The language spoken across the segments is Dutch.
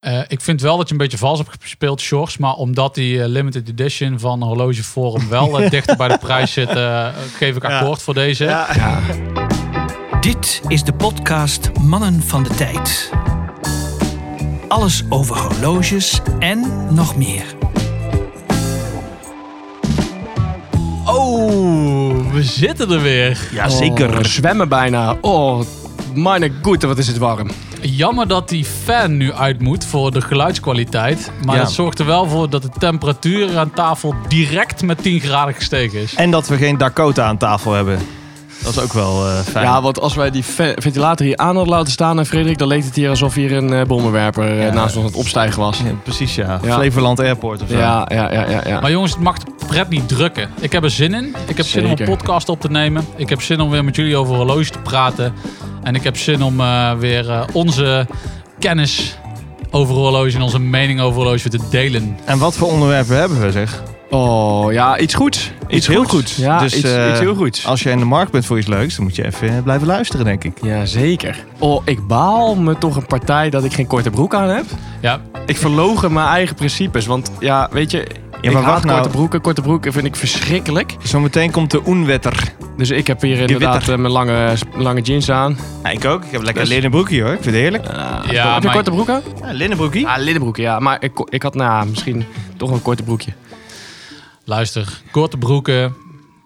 Eh, ik vind wel dat je een beetje vals hebt gespeeld, Sjors. Maar omdat die eh, limited edition van Horloge Forum wel eh, dichter bij de prijs zit, eh, geef ik Ja. akkoord voor deze. Ja. Dit is de podcast Mannen van de Tijd. Alles over horloges en nog meer. Oh, we zitten er weer. Ja, zeker. Oh, zwemmen bijna. Oh, mijn goede, wat is het warm. Jammer dat die fan nu uit moet voor de geluidskwaliteit. Maar Ja. dat zorgt er wel voor dat de temperatuur aan tafel direct met 10 graden gestegen is. En dat we geen Dakota aan tafel hebben. Dat is ook wel eh, fijn. Ja, want als wij die ve- ventilator hier aan hadden laten staan, en Frederik, dan leek het hier alsof hier een eh, bommenwerper eh, Ja. naast ons aan het opstijgen was. Ja, precies, ja. Ja. Flevoland Airport of zo. Ja, ja, ja, ja. ja. Maar jongens, het mag de pret niet drukken. Ik heb er zin in. Ik heb zin om een Zeker. podcast op te nemen. Ik heb zin om weer met jullie over horloge te praten. En ik heb zin om eh, weer eh, onze kennis over horloge en onze mening over horloge te delen. En wat voor onderwerpen hebben we, zeg? Oh, ja, iets goeds. Iets, heel goeds. goeds. Ja, Dus, iets, eh, iets heel goeds. Als je in de markt bent voor iets leuks, dan moet je even eh, blijven luisteren, denk ik. Ja, zeker. Oh, ik baal me toch een partij dat ik geen korte broek aan heb. Ja, Ik verlogen mijn eigen principes, want ja, weet je... Ja, ik maar haat wacht nou. korte broeken. Korte broeken vind ik verschrikkelijk. Zometeen komt de Oenwetter. Dus ik heb hier inderdaad witter. eh, mijn lange, lange jeans aan. Ja, ik ook. Ik heb lekker Dus- linnen broekje, hoor. Ik vind het heerlijk. Ja, heb je maar- korte broeken? Ja, linnen broekje. Ja, linnenbroeken, Ah, ja. Maar ik, ik had nou, ja, misschien toch een korte broekje. luister. Korte broeken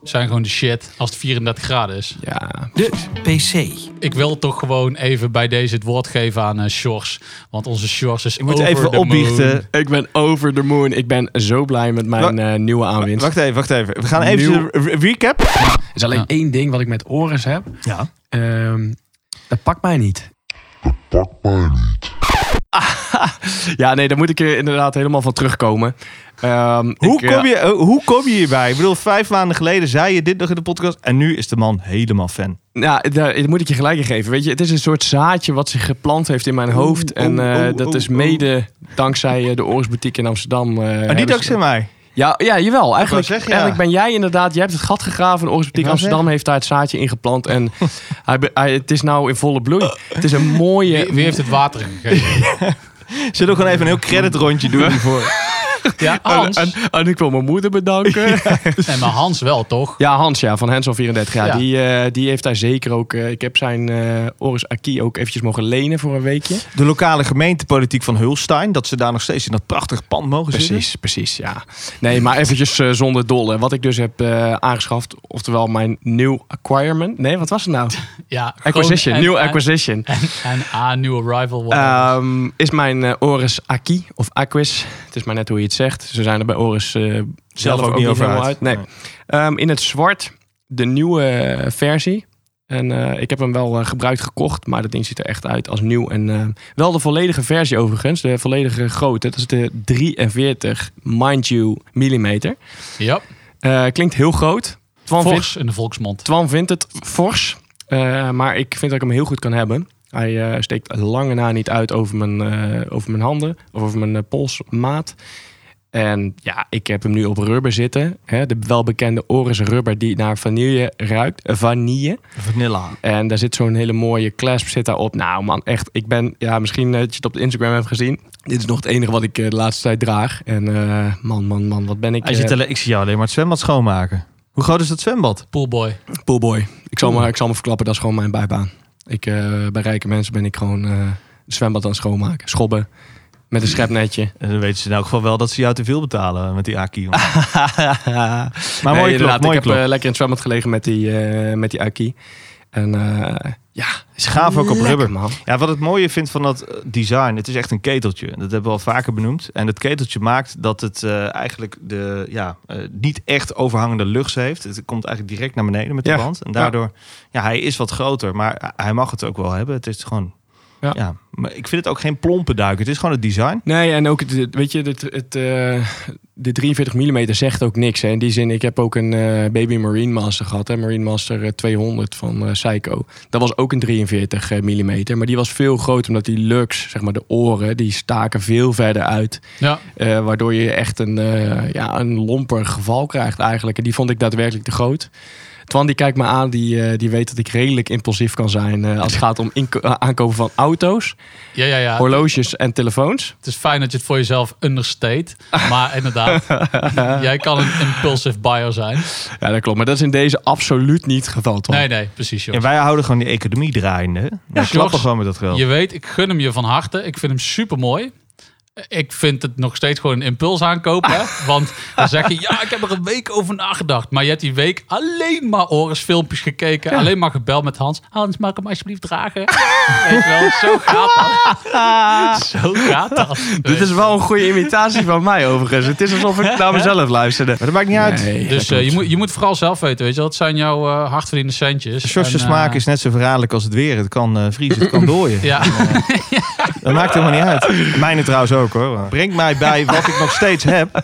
zijn gewoon de shit als het 34 graden is. Ja. De PC. Ik wil toch gewoon even bij deze het woord geven aan eh Sjors. Want onze Sjors is Ik moet over even the moon. opbiechten. Ik ben over the moon. Ik ben zo blij met mijn eh, nieuwe aanwinst. Wacht even, wacht even. We gaan even Nieuw- een re- recap. Er is alleen Ja. één ding wat ik met Oris heb. Ja. Ehm, dat pakt mij niet. Pak mij niet. Ja, nee, daar moet ik er inderdaad helemaal van terugkomen. Ehm, Hoe, ik, eh, kom je, eh, hoe kom je hierbij? Ik bedoel, vijf maanden geleden zei je dit nog in de podcast. En nu is de man helemaal fan. Nou, daar, daar moet ik je gelijk in geven. Weet je, het is een soort zaadje wat zich geplant heeft in mijn hoofd. oh, en eh, oh, dat oh, is oh. mede dankzij eh, de Oris Boutique in Amsterdam. eh, Maar hebben niet ze- dankzij mij. Ja, ja jawel. Eigenlijk, zeggen, ja. eigenlijk ben jij inderdaad... Jij hebt het gat gegraven. De Orisboutique wou Amsterdam heeft daar het zaadje in geplant. En hij, be- hij- het is nou in volle bloei. Het is een mooie... Wie, wie heeft het water gegeven? Zullen we gewoon even een heel creditrondje doen hiervoor? Ja, en, Hans. en, en ik wil mijn moeder bedanken. Ja, Nee, maar Hans wel, toch? Hans ja, van Hensel 34. Ja, Ja. Die, eh, die heeft daar zeker ook... eh, ik heb zijn eh Oris Aki ook eventjes mogen lenen voor een weekje. De lokale gemeentepolitiek van Hulstein. Dat ze daar nog steeds in dat prachtige pand mogen zitten. Precies, precies, ja. Nee, maar eventjes eh, zonder dolle. Wat ik dus heb eh, aangeschaft, oftewel mijn new acquirement. Nee, wat was het nou? Ja, Acquisition, gewoon- new en- acquisition. En A, New Arrival. whatever. Ehm, is mijn eh, Oris Aki of Aquis. Het is maar net hoe je het zegt. Ze zijn er bij Oris eh, zelf, ook ook, niet niet over helemaal uit. uit. Nee. Nee. Ehm, in het zwart de nieuwe eh, versie. En eh, ik heb hem wel eh, gebruikt gekocht, maar dat ding ziet er echt uit als nieuw. En eh, wel de volledige versie overigens, de volledige grootte. Dat is de 43, mind you, millimeter. ja, Eh, klinkt heel groot. Twan vindt- fors in de volksmond. Twan vindt het fors. eh, maar ik vind dat ik hem heel goed kan hebben. Hij eh, steekt lange na niet uit over mijn, eh, over mijn handen. Of over mijn eh, polsmaat. En ja, ik heb hem nu op rubber zitten. Hè, de welbekende Oris rubber die naar vanille ruikt. Eh, Vanille. Vanilla. En daar zit zo'n hele mooie clasp zit daarop. Nou man, echt. Ik ben, ja, misschien eh, dat je het op de Instagram hebt gezien. Dit is nog het enige wat ik eh, de laatste tijd draag. En eh, man, man, man, wat ben ik... Hij eh, zit alleen, ik zie jou alleen maar het zwembad schoonmaken. Hoe groot is dat zwembad? Poolboy. Poolboy. Ik zal, maar, ik zal me verklappen, dat is gewoon mijn bijbaan. Ik, eh, bij rijke mensen ben ik gewoon eh het zwembad aan het schoonmaken. Schobben. Met een schepnetje. En dan weten ze in elk geval wel Eh, dat ze jou te veel betalen met die Aki. jongen. maar Nee, mooie klok, inderdaad, mooie Ik heb klok. eh, lekker in het zwembad gelegen met die, eh, met die Aki. En eh, ja, is Gaaf ook op lekker, rubber. man. Ja, wat het mooie vind van dat eh, design, het is echt een keteltje. Dat hebben we al vaker benoemd. En dat keteltje maakt dat het eh, eigenlijk de, ja, eh, niet echt overhangende lucht heeft. Het komt eigenlijk direct naar beneden met de Ja. band. En daardoor, ja, hij is wat groter, maar hij mag het ook wel hebben. Het is gewoon, ja. Ja. maar ik vind het ook geen plompe duik. Het is gewoon het design. Nee, en ook, het- het, weet je, het, het, eh, de 43 mm zegt ook niks. Hè. In die zin, ik heb ook een eh, Baby Marine Master gehad. Hè. Marine Master eh, 200 van eh Seiko. Dat was ook een 43 mm. Maar die was veel groter, omdat die lux, zeg maar de oren, die staken veel verder uit. Ja, Eh, waardoor je echt een, eh, ja, een lomper geval krijgt eigenlijk. En die vond ik daadwerkelijk te groot. Twan die kijkt me aan, die, eh, die weet dat ik redelijk impulsief kan zijn eh, als het gaat om inko- eh, aankopen van auto's, Ja, ja, ja. horloges en telefoons. Het is fijn dat je het voor jezelf understate. Maar inderdaad, jij kan een impulsive buyer zijn. Ja, dat klopt. Maar dat is in deze absoluut niet het geval, Twan. Nee, nee, precies. Joh. En wij houden gewoon die economie draaiende. hè? We klappen George, gewoon met dat geld. Je weet, ik gun hem je van harte. Ik vind hem super mooi. Ik vind het nog steeds gewoon een impuls aankopen. Hè? Want dan zeg je, ja, ik heb er een week over nagedacht. Maar je hebt die week alleen maar Oris-filmpjes gekeken. Alleen maar gebeld met Hans. Hans, maak hem alsjeblieft dragen. Weet je wel, zo gaat dat. zo gaat dat. Dit is wel een goede imitatie van mij overigens. Het is alsof ik naar mezelf luisterde. Maar dat maakt niet uit. Dus eh, je, moet, je moet vooral zelf weten, weet je wel. Dat zijn jouw eh, hardverdiende centjes. Sjors' En, eh, smaak is net zo verraderlijk als het weer. Het kan eh vriezen, het kan dooien. Ja, Dat maakt helemaal niet uit. Mijne trouwens ook hoor. Brengt mij bij wat ik nog steeds heb.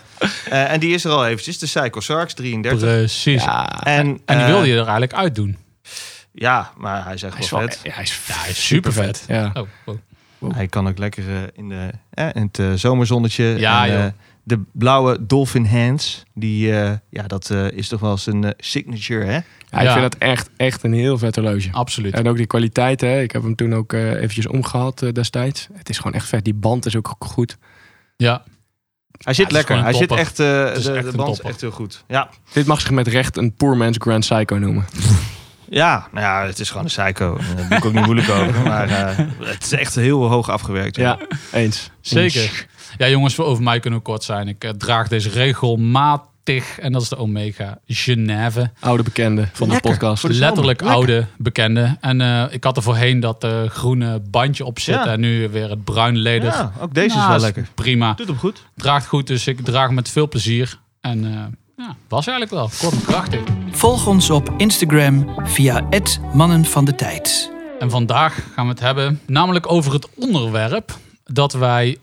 Eh, en die is er al eventjes. De Psycho Sarks 33. precies. Ja, En, En die eh, wilde je er eigenlijk uitdoen. Ja, maar hij zegt hij is wel wel- vet. ja, hij is Ja, hij is super vet. Ja. Oh, wow. Hij kan ook lekker eh, in, de, eh, in het eh, zomerzonnetje. Ja, en, joh. eh, de blauwe Dolphin Hands. Die, eh, ja, dat eh, is toch wel zijn eh, signature, hè? Ja, ik Ja. vind dat echt, echt een heel vet horloge. absoluut. En ook die kwaliteit, hè. ik heb hem toen ook eh, eventjes omgehad eh, destijds. Het is gewoon echt vet. Die band is ook goed. Ja, Hij zit is lekker. gewoon een Hij zit topper. echt, eh, is de, echt de een band is topper. echt heel goed. Ja. Dit mag zich met recht een poor man's Grand Psycho noemen. ja, nou ja, het is gewoon een psycho. En Daar ben ik ook niet moeilijk over. Maar eh, het is echt heel hoog afgewerkt. hoor. Ja, eens. zeker. Ja, jongens, over mij kunnen we kort zijn. Ik eh, draag deze regelmatig. En dat is de Omega Geneve. Oude bekende van Lekker. de podcast. Voor de zomer. Letterlijk oude, bekende. En eh, ik had er voorheen dat eh, groene bandje op zit. Ja. En nu weer het bruin leder. Ja, ook deze is Nou, wel lekker. Prima. Doet hem goed. Draagt goed, dus ik draag hem met veel plezier. En eh, ja, was eigenlijk wel. Kort en krachtig. Volg ons op Instagram via het Mannen van de Tijd. En vandaag gaan we het hebben namelijk over het onderwerp dat wij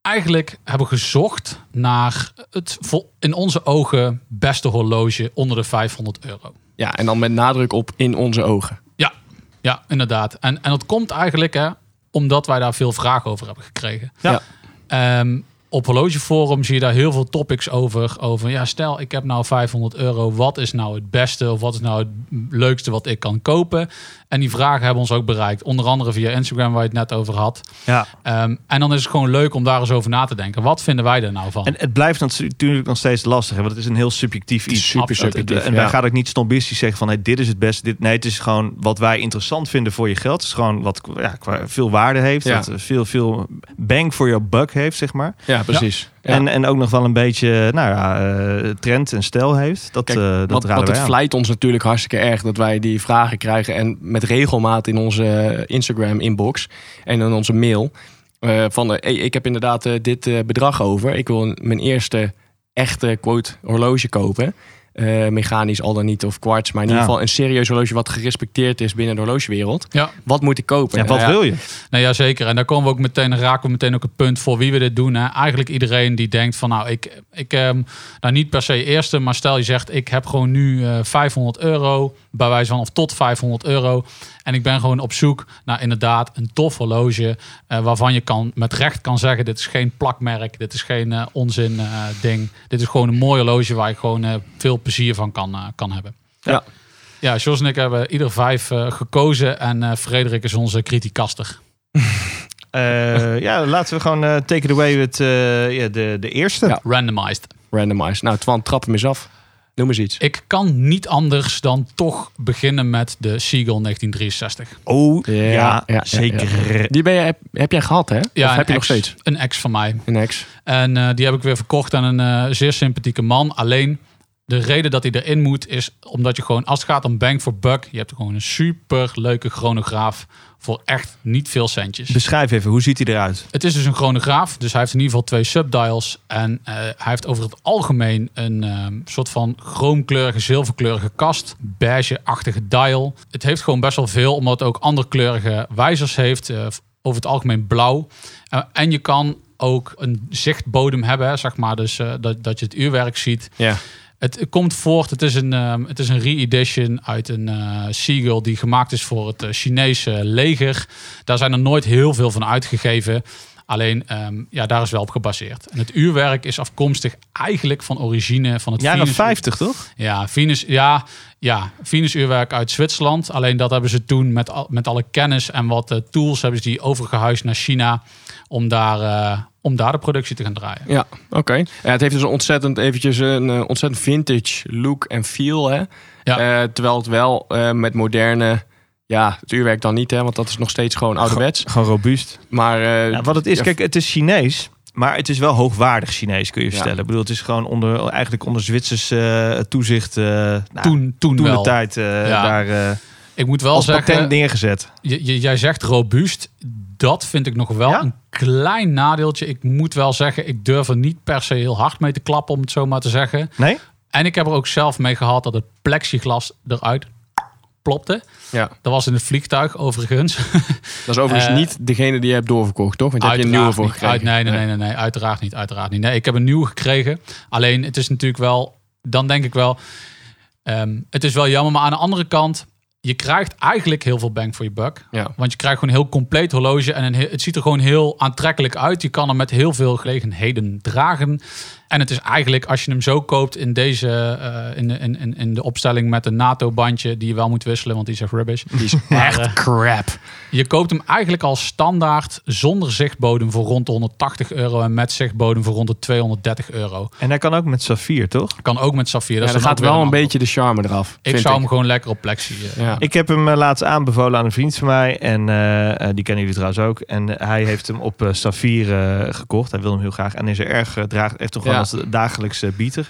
eigenlijk hebben gezocht naar het vol- in onze ogen beste horloge onder de 500 euro. Ja, en dan met nadruk op in onze ogen. Ja, ja inderdaad. En, en dat komt eigenlijk hè, omdat wij daar veel vragen over hebben gekregen. Ja. Ehm, op horlogeforum zie je daar heel veel topics over. Over ja, stel ik heb nou 500 euro. Wat is nou het beste of wat is nou het leukste wat ik kan kopen? En die vragen hebben ons ook bereikt. Onder andere via Instagram waar je het net over had. Ja. Ehm, en dan is het gewoon leuk om daar eens over na te denken. Wat vinden wij daar nou van? En het blijft natuurlijk nog steeds lastig, hè, want het is een heel subjectief iets. Super Absoluut. subjectief. en wij ja. gaan ook niet snobistisch zeggen van hey, dit is het beste. Dit, nee, het is gewoon wat wij interessant vinden voor je geld. Het is gewoon wat ja, qua veel waarde heeft. Ja. Wat eh, veel, veel bang voor jouw buck heeft, zeg maar. Ja, precies. Ja. En, en ook nog wel een beetje nou ja, eh, trend en stijl heeft. Dat, Kijk, eh, dat Want, raden want het wij aan. vlijt ons natuurlijk hartstikke erg dat wij die vragen krijgen. En met regelmaat in onze Instagram-inbox en in onze mail. eh, van eh, hey, ik heb inderdaad eh, dit eh, bedrag over. Ik wil een- mijn eerste echte quote horloge kopen. Eh, mechanisch al dan niet of kwarts. Maar in Ja. ieder geval een serieus horloge wat gerespecteerd is binnen de horlogewereld. Ja. Wat moet ik kopen? Ja, wat Nou ja, wil je? Nou ja, zeker. En daar komen we ook meteen, dan raken we meteen ook het punt voor wie we dit doen. Hè. Eigenlijk iedereen die denkt van nou, ik, ik ehm, nou niet per se eerste, maar stel je zegt ik heb gewoon nu eh, 500 euro, bij wijze van of tot 500 euro. En ik ben gewoon op zoek naar inderdaad een tof horloge eh, waarvan je kan, met recht kan zeggen dit is geen plakmerk, dit is geen eh, onzin eh, ding. Dit is gewoon een mooi horloge waar je gewoon eh, veel plezier van kan, eh, kan hebben. Ja. Ja, Jos en ik hebben ieder vijf eh, gekozen en eh, Frederik is onze criticaster. Eh, ja, laten we gewoon eh, take it away met eh, ja, de, de eerste. Ja. Randomized. Randomized. Nou, Twan, trap hem eens af. Noem eens iets. Ik kan niet anders dan toch beginnen met de Seagull 1963. Oh, ja, Ja, ja, ja, zeker. Die ben je, heb, heb jij gehad, hè? of een heb je nog ex- steeds? Een ex van mij. Een ex. En eh, die heb ik weer verkocht aan een eh, zeer sympathieke man. Alleen de reden dat hij erin moet is omdat je gewoon, als het gaat om bang for buck, je hebt gewoon een super leuke chronograaf voor echt niet veel centjes. Beschrijf even, hoe ziet hij eruit? Het is dus een chronograaf, dus hij heeft in ieder geval twee subdials. En eh, hij heeft over het algemeen een ehm, soort van chroomkleurige, zilverkleurige kast. Beige-achtige dial. Het heeft gewoon best wel veel, omdat het ook anderkleurige wijzers heeft. eh, over het algemeen blauw. Eh, en je kan ook een zichtbodem hebben, hè, zeg maar. Dus eh, dat, dat je het uurwerk ziet. Ja. Het komt voort, het is een, ehm, het is een re-edition uit een eh Seagull die gemaakt is voor het eh, Chinese leger. Daar zijn er nooit heel veel van uitgegeven. Alleen ehm, ja, daar is wel op gebaseerd. En het uurwerk is afkomstig eigenlijk van origine van het Jaren Venus- 50, toch? Ja, Venus, ja, ja, Venus-uurwerk uit Zwitserland. Alleen dat hebben ze toen met, al, met alle kennis en wat eh, tools hebben ze die overgehuisd naar China om daar, eh, om daar de productie te gaan draaien. Ja, oké. Ja, het heeft dus een ontzettend, eventjes een eh, ontzettend vintage look en feel. Hè? Ja. Eh, terwijl het wel eh, met moderne... Ja, het uurwerk dan niet, hè, want dat is nog steeds gewoon ouderwets. Gewoon robuust. Maar eh, Ja, wat het is, ja, kijk, het is Chinees. Maar het is wel hoogwaardig Chinees, kun je Ja. vertellen. Ik bedoel, het is gewoon onder, eigenlijk onder Zwitsers eh, toezicht. eh, nou, toen, toen, toen de wel. tijd eh, Ja. daar eh, Ik moet wel als zeggen, patent neergezet. je, je- jij zegt robuust. Dat vind ik nog wel Ja? een klein nadeeltje. Ik moet wel zeggen, ik durf er niet per se heel hard mee te klappen, om het zo maar te zeggen. Nee? En ik heb er ook zelf mee gehad dat het plexiglas eruit plopte. Ja. Dat was in het vliegtuig overigens. dat is overigens eh, niet degene die je hebt doorverkocht, toch? Want daar heb je een nieuwe Uiteraard voor niet. gekregen. Uit- nee, nee, nee, nee, nee, uiteraard niet, uiteraard niet. Nee, ik heb een nieuwe gekregen. Alleen, het is natuurlijk wel, dan denk ik wel, ehm, het is wel jammer. Maar aan de andere kant, je krijgt eigenlijk heel veel bang voor je buck. Ja. Want je krijgt gewoon een heel compleet horloge en een, he- het ziet er gewoon heel aantrekkelijk uit. Je kan hem met heel veel gelegenheden dragen. En het is eigenlijk, als je hem zo koopt in deze, eh, in, de- in, in, in de opstelling met een NATO-bandje, die je wel moet wisselen, want die is echt rubbish. Die is echt crap. Je koopt hem eigenlijk al standaard zonder zichtbodem voor rond de 180 euro en met zichtbodem voor rond de 230 euro. En hij kan ook met saffier, toch? Kan ook met saffier. Ja, Dat dan is dan gaat ook weer wel een ander- beetje de charme eraf. Ik vind zou hem gewoon lekker op plexi. eh, Ja. Ik heb hem eh, laatst aanbevolen aan een vriend van mij. En eh, eh, die kennen jullie trouwens ook. En eh, hij heeft hem op eh Safir eh, gekocht. Hij wil hem heel graag. En is er erg eh, draagt. Heeft toch Ja. gewoon als dagelijkse bieter.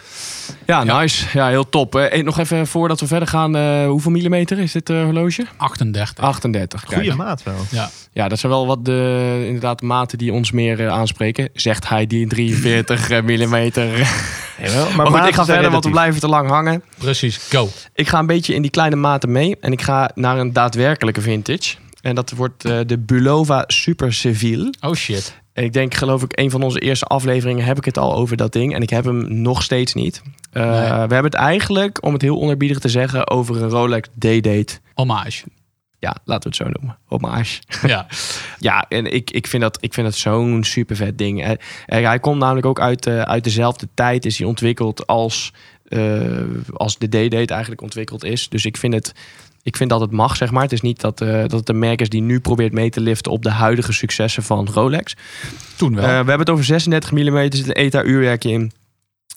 Ja, nice. Ja, heel top. Eh, eh, nog even voordat we verder gaan. eh, hoeveel millimeter is dit eh, horloge? 38. 38. Kijk. Goede maat wel. Ja, dat zijn wel wat de, inderdaad, de maten die ons meer eh, aanspreken. Zegt hij die 43 eh, millimeter. Maar goed, maat ik ga is daar verder, want relatief. we blijven te lang hangen. Precies. Go. Ik ga een beetje in die kleine maten mee. En ik ga naar een daadwerkelijke vintage. En dat wordt eh, de Bulova Super Civil. Oh shit. En ik denk, geloof ik, een van onze eerste afleveringen heb ik het al over dat ding. En ik heb hem nog steeds niet. Eh, Nee. We hebben het eigenlijk, om het heel onerbiedig te zeggen, over een Rolex D-Date. Hommage. Ja, laten we het zo noemen. Hommage. Ja. Ja, en ik, ik vind dat, ik vind dat zo'n super vet ding. Hij, hij- hij komt namelijk ook uit, eh, uit dezelfde tijd, is hij ontwikkeld als, eh, als de D-Date eigenlijk ontwikkeld is. Dus ik vind, het, ik vind dat het mag, zeg maar. Het is niet dat, eh, dat het een merk is die nu probeert mee te liften op de huidige successen van Rolex. Toen wel. Eh, we hebben het over 36 mm, er zit een ETA-uurwerkje in.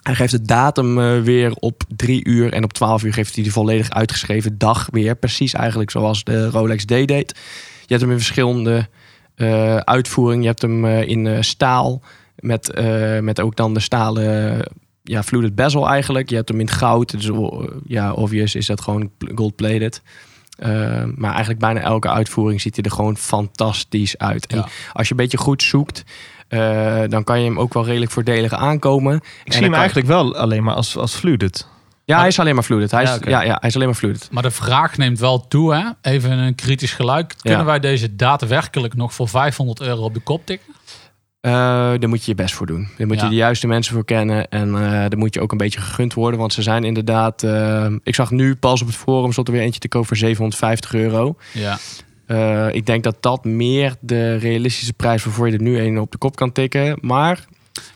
Hij geeft de datum eh, weer op 3 uur en op 12 uur geeft hij de volledig uitgeschreven dag weer. Precies eigenlijk zoals de Rolex D deed. Je hebt hem in verschillende eh uitvoeringen. Je hebt hem eh, in eh, staal met, eh, met ook dan de stalen eh, ja, fluted bezel eigenlijk. Je hebt hem in goud, dus o- ja, obvious is dat gewoon gold-plated. Eh, maar eigenlijk bijna elke uitvoering ziet hij er gewoon fantastisch uit. En Ja. als je een beetje goed zoekt, eh, dan kan je hem ook wel redelijk voordelig aankomen. Ik zie hem eigenlijk wel alleen maar als, als fluided. Ja, hij is alleen maar fluted. Hij is, ja, Ja, oké. ja, hij is alleen maar fluted. Maar de vraag neemt wel toe, hè? Even een kritisch geluid. Kunnen Ja. wij deze daadwerkelijk nog voor 500 euro op de kop tikken? Eh, daar moet je je best voor doen. Daar moet Ja. je de juiste mensen voor kennen. En eh, daar moet je ook een beetje gegund worden. Want ze zijn inderdaad... eh, ik zag nu pas op het forum stond er weer eentje te koop voor 750 euro. Ja. Eh, ik denk dat dat meer de realistische prijs... waarvoor je er nu een op de kop kan tikken. Maar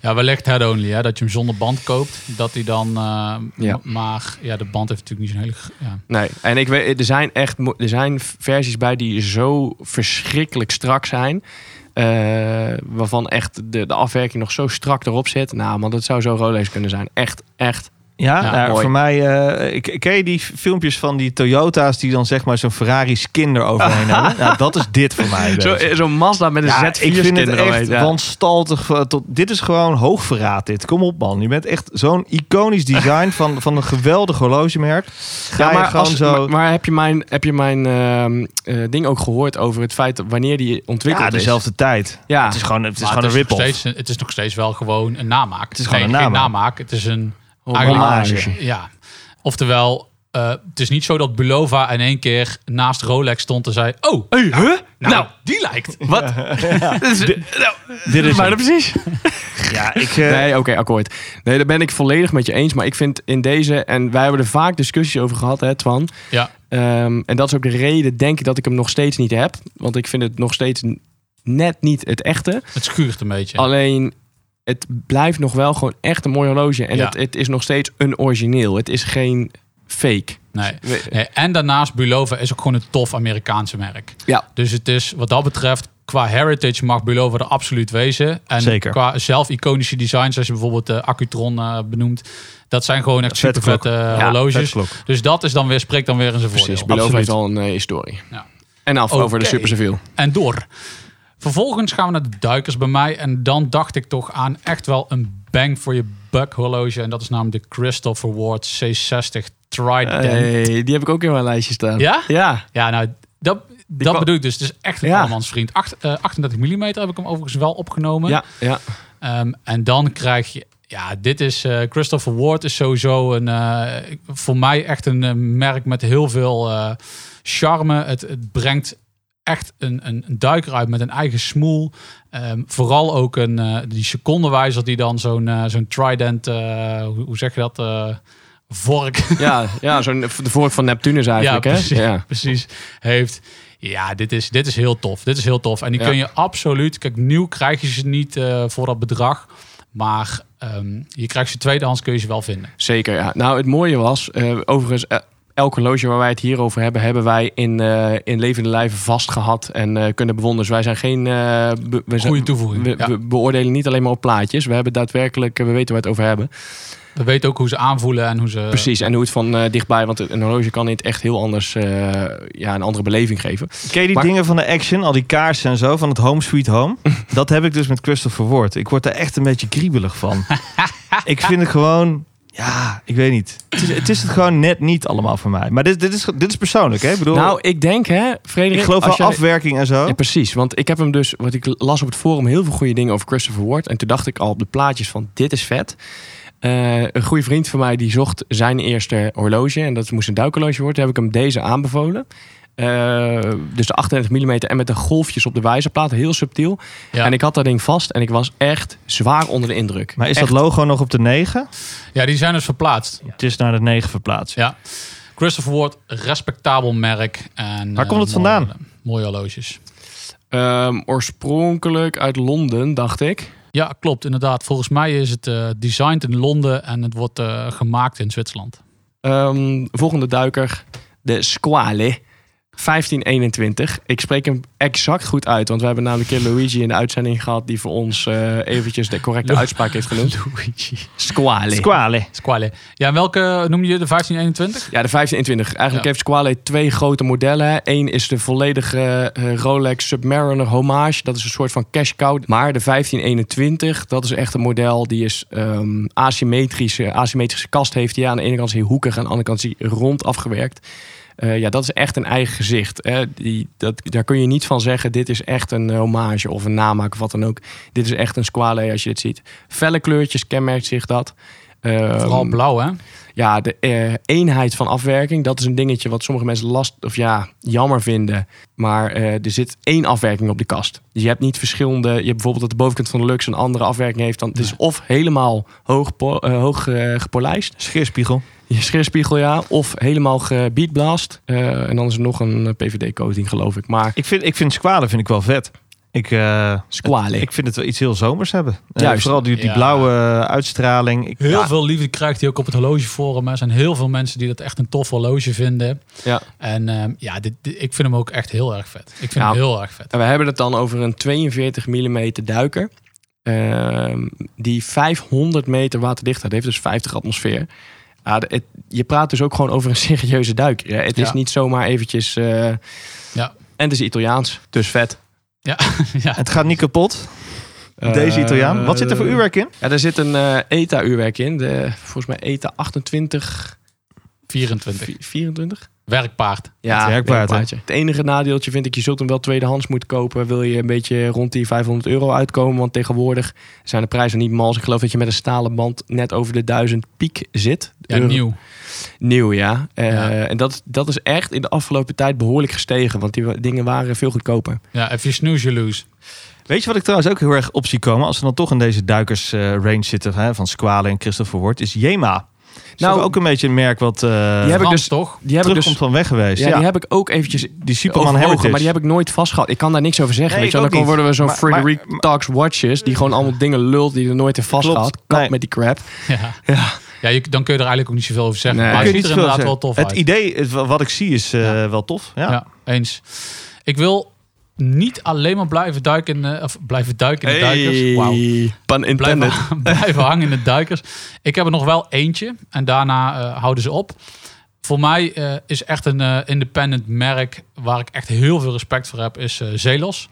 Ja, wellicht head only, hè? Dat je hem zonder band koopt. Dat hij dan... eh, Ja. m- Maar ja, de band heeft natuurlijk niet zo'n hele... g- Ja. nee. En ik weet, er zijn echt mo- er zijn versies bij die zo verschrikkelijk strak zijn... eh, waarvan echt de, de afwerking nog zo strak erop zit. Nou man, dat zou zo Rolex kunnen zijn. Echt, echt. Ja, Ja, nou, mooi. voor mij... eh, ik, ken je die filmpjes van die Toyota's... die dan zeg maar zo'n Ferrari skin eroverheen hebben? Nou, dat is dit voor mij. Zo'n deze. zo eh, zo'n Mazda met een Ja, Z4 ik vind het skin eromheen, echt ja. wanstaltig. eh, Tot, dit is gewoon hoogverraad dit. Kom op man. Je bent echt zo'n iconisch design van, van een geweldig horlogemerk. Ga Ja, je gewoon als- zo... maar, maar heb je mijn, heb je mijn ehm, eh, ding ook gehoord over het feit dat wanneer die ontwikkeld ja, dezelfde tijd. is? dus. Ja, Het is gewoon, het is Maar gewoon een nog rip-off. steeds een- Het is nog steeds wel gewoon een namaak. Het is gewoon een geen namaak. namaak. Het is een... Hommage. eigenlijk- Ja. Oftewel, eh, het is niet zo dat Bulova in één keer naast Rolex stond en zei... Oh, Hey, huh? nou, Nou, die lijkt. wat? Dit is- nou, Dit is maar hem. dat precies. Ja, ik... eh, Nee, oké, akkoord. Nee, daar ben ik volledig met je eens. Maar ik vind in deze, en wij hebben er vaak discussies over gehad, hè, Twan. Ja. Ehm, en dat is ook de reden, denk ik, dat ik hem nog steeds niet heb. Want ik vind het nog steeds net niet het echte. Het schuurt een beetje. Alleen, het blijft nog wel gewoon echt een mooi horloge. En Ja. het, het is nog steeds een origineel. Het is geen fake. Nee. We- Nee, en daarnaast, Bulova is ook gewoon een tof Amerikaanse merk. Ja. Dus het is, wat dat betreft, qua heritage mag Bulova er absoluut wezen. En Zeker. qua zelf-iconische designs, als je bijvoorbeeld de Accutron eh, benoemt, dat zijn gewoon echt Vette super vette horloges. vetklok. Dus dat is dan weer, spreekt dan weer in zijn voordeel. Precies, Beloof heeft al een eh, historie. Ja. En af over de Oké. Super Seville. en door. Vervolgens gaan we naar de duikers bij mij. En dan dacht ik toch aan echt wel een bang voor je buck horloge. En dat is namelijk de Christopher Ward C60 Trident. Hey, Eh, die heb ik ook in mijn lijstje staan. Ja? Ja. Ja, nou, dat, dat kwam- bedoel ik dus. Het is echt een Ja. allemansvriend. Acht, eh, 38 mm heb ik hem overigens wel opgenomen. Ja, ja. Ehm, en dan krijg je... Ja, dit is... eh, Christopher Ward is sowieso een, eh, voor mij echt een eh, merk met heel veel eh, charme. Het, het brengt echt een, een, een duiker uit met een eigen smoel. Ehm, vooral ook een, eh, die secondenwijzer die dan zo'n eh, zo'n trident... eh, hoe, hoe zeg je dat? eh, vork ja, ja zo'n de vork van Neptunus eigenlijk. ja, hè? precies, Ja. precies. Heeft. Ja, dit is, dit is heel tof. Dit is heel tof. En die Ja. kun je absoluut. Kijk, nieuw krijg je ze niet eh, voor dat bedrag. Maar ehm, je krijgt ze tweedehands, kun je ze wel vinden. Zeker, ja. Nou, het mooie was, eh, overigens, eh, elk horloge waar wij het hier over hebben, hebben wij in, eh, in levende lijven vastgehad en eh, kunnen bewonderen. Dus wij zijn geen... eh, be- we, zijn- Goede toevoeging. we, ja. we beoordelen niet alleen maar op plaatjes. We hebben daadwerkelijk, eh, we weten waar we het over hebben. We weten ook hoe ze aanvoelen en hoe ze. Precies, en hoe het van eh, dichtbij, want een horloge kan dit echt heel anders, eh, ja, een andere beleving geven. Ken je die Maar- dingen van de action, al die kaarsen en zo, van het Home Sweet Home? dat heb ik dus met Christopher Ward. Ik word daar echt een beetje kriebelig van. ik vind het gewoon, ja, ik weet niet. Het is het, is het gewoon net niet allemaal voor mij. Maar dit, dit, is, dit is persoonlijk, hè? Ik bedoel, Nou, ik denk, hè, Frederik... ik geloof als wel jij- afwerking en zo. Ja, precies. Want ik heb hem dus, wat ik las op het forum, heel veel goede dingen over Christopher Ward. En toen dacht ik al op de plaatjes van dit is vet. Eh, een goede vriend van mij die zocht zijn eerste horloge. En dat moest een duikhorloge worden. Heb ik hem deze aanbevolen. Eh, dus de 38 mm en met de golfjes op de wijzerplaat. Heel subtiel. Ja. En ik had dat ding vast en ik was echt zwaar onder de indruk. maar is Echt. dat logo nog op de 9? ja, die zijn dus verplaatst. Het is naar de 9 verplaatst. Ja. Christopher Ward, respectabel merk. En, Waar eh, komt het mooie- vandaan? Mooie horloges. Ehm, oorspronkelijk uit Londen, dacht ik. Ja, klopt, inderdaad. Volgens mij is het eh, designed in Londen en het wordt eh, gemaakt in Zwitserland. Ehm, volgende duiker, de Squale. 1521. Ik spreek hem exact goed uit, want we hebben namelijk een keer Luigi in de uitzending gehad die voor ons eh, eventjes de correcte Lu- uitspraak heeft genoemd. Luigi. Squale. Squale. Squale. Ja, en welke noem je de 1521? ja, de 1521. Eigenlijk Ja. heeft Squale twee grote modellen. Eén is de volledige eh, Rolex Submariner Homage. Dat is een soort van cash cow. Maar de 1521, dat is echt een model die is ehm, asymmetrische, asymmetrische kast heeft. Die aan de ene kant is hij hoekig, aan de andere kant is hij rond afgewerkt. Eh, ja, dat is echt een eigen gezicht. Hè? Die, dat, daar kun je niet van zeggen, dit is echt een hommage of een namaak of wat dan ook. Dit is echt een Squale als je dit ziet. Felle kleurtjes kenmerkt zich dat. Ehm, Vooral blauw, hè? ja, de eh, eenheid van afwerking, dat is een dingetje wat sommige mensen last of ja, jammer vinden. Maar eh, er zit één afwerking op de kast. Dus je hebt niet verschillende. Je hebt bijvoorbeeld dat de bovenkant van de Lux een andere afwerking heeft. Dan, het is of helemaal hoog, po- eh, hoog eh, gepolijst, Scheerspiegel. je schriftspiegel ja, of helemaal gebeatblast. Eh en dan is er nog een PVD-coating, geloof ik. Maar Ik vind, ik vind Squale vind ik wel vet. Ik, eh, Squale. ik vind het wel iets heel zomers hebben. Eh, Juist. vooral die, die Ja. blauwe eh, uitstraling. Ik, Ah, Heel ja, veel liefde krijgt hij ook op het horlogeforum. Er zijn heel veel mensen die dat echt een tof horloge vinden. ja. En ehm, ja, dit, dit- ik vind hem ook echt heel erg vet. Ik vind Nou, hem heel erg vet. En we hebben het dan over een 42 mm duiker. ehm, die 500 meter waterdichtheid heeft, dus 50 atmosfeer. Ja, de- het- je praat dus ook gewoon over een serieuze duiker. Hè? Het is Ja. niet zomaar eventjes... eh, Ja. En het is Italiaans, dus vet. ja. Het gaat niet kapot. Deze Eh, Italiaan. Wat zit er voor uurwerk in? Ja, er zit een eh, ETA-uurwerk in. De, volgens mij ETA 28, 24. 24. Werkpaard. Ja, Het werkpaard, werkpaardje. Het enige nadeeltje vind ik, je zult hem wel tweedehands moeten kopen. Wil je een beetje rond die 500 euro uitkomen? Want tegenwoordig zijn de prijzen niet mals. Ik geloof dat je met een stalen band net over de 1000 piek zit. Ja, Euro- nieuw. Nieuw, ja. Eh, Ja. En dat, dat is echt in de afgelopen tijd behoorlijk gestegen. Want die wa- dingen waren veel goedkoper. Ja, if you snooze, you lose. Weet je wat ik trouwens ook heel erg op zie komen? Als we dan toch in deze duikers eh, range zitten hè, van Squale en Christopher Ward. Is Jema. nou, Nou, ook een beetje een merk wat eh die heb ik Frans, dus- toch? Die heb ik terugkomt dus van weg geweest. ja, Ja, die heb ik ook eventjes Die Superman overwogen, Heritage. maar die heb ik nooit vastgehad. Ik kan daar niks over zeggen. Nee, weet je wel. ik Dan ook worden we zo'n niet. Maar- Frederick Talks Watches, die gewoon allemaal dingen lult die er nooit in vastgehad. Klopt. Kap Nee. met die crap. Ja. ja je, dan kun je er eigenlijk ook niet zoveel over zeggen. Nee. Maar Kun het je ziet niet er veel inderdaad wel zeggen. tof Het uit. idee, het- wat ik zie, is eh, wel tof. Ja. Ja. eens. Ik wil niet alleen maar blijven duiken in de, of blijven duiken in de duikers. Wauw. Pun intended. Blijven, blijven hangen in de duikers. Ik heb er nog wel eentje. En daarna eh, houden ze op. Voor mij eh, is echt een eh, independent merk waar ik echt heel veel respect voor heb, is eh, Zelos.